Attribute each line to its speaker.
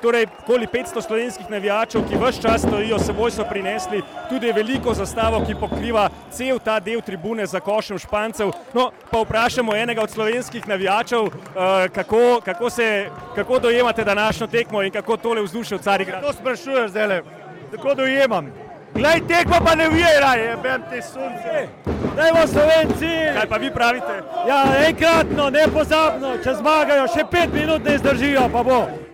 Speaker 1: Torej, okoli 500 slovenskih navijačev, ki vse čas stojijo, seboj so prinesli tudi veliko zastavo, ki pokriva cel ta del tribune za košem Špancev. No, pa vprašamo enega od slovenskih navijačev, eh, kako, kako, se, kako dojemate današnjo tekmo in kako tole vzdušje v Carigradu.
Speaker 2: To sprašuješ zdaj le, tako dojemam. Glej, tekmo pa ne vira, jebem ti sunce. Dajmo Slovenci!
Speaker 1: Kaj pa vi pravite?
Speaker 2: Ja, enkratno, nepozabno, če zmagajo, še pet minut ne zdržijo, pa bo.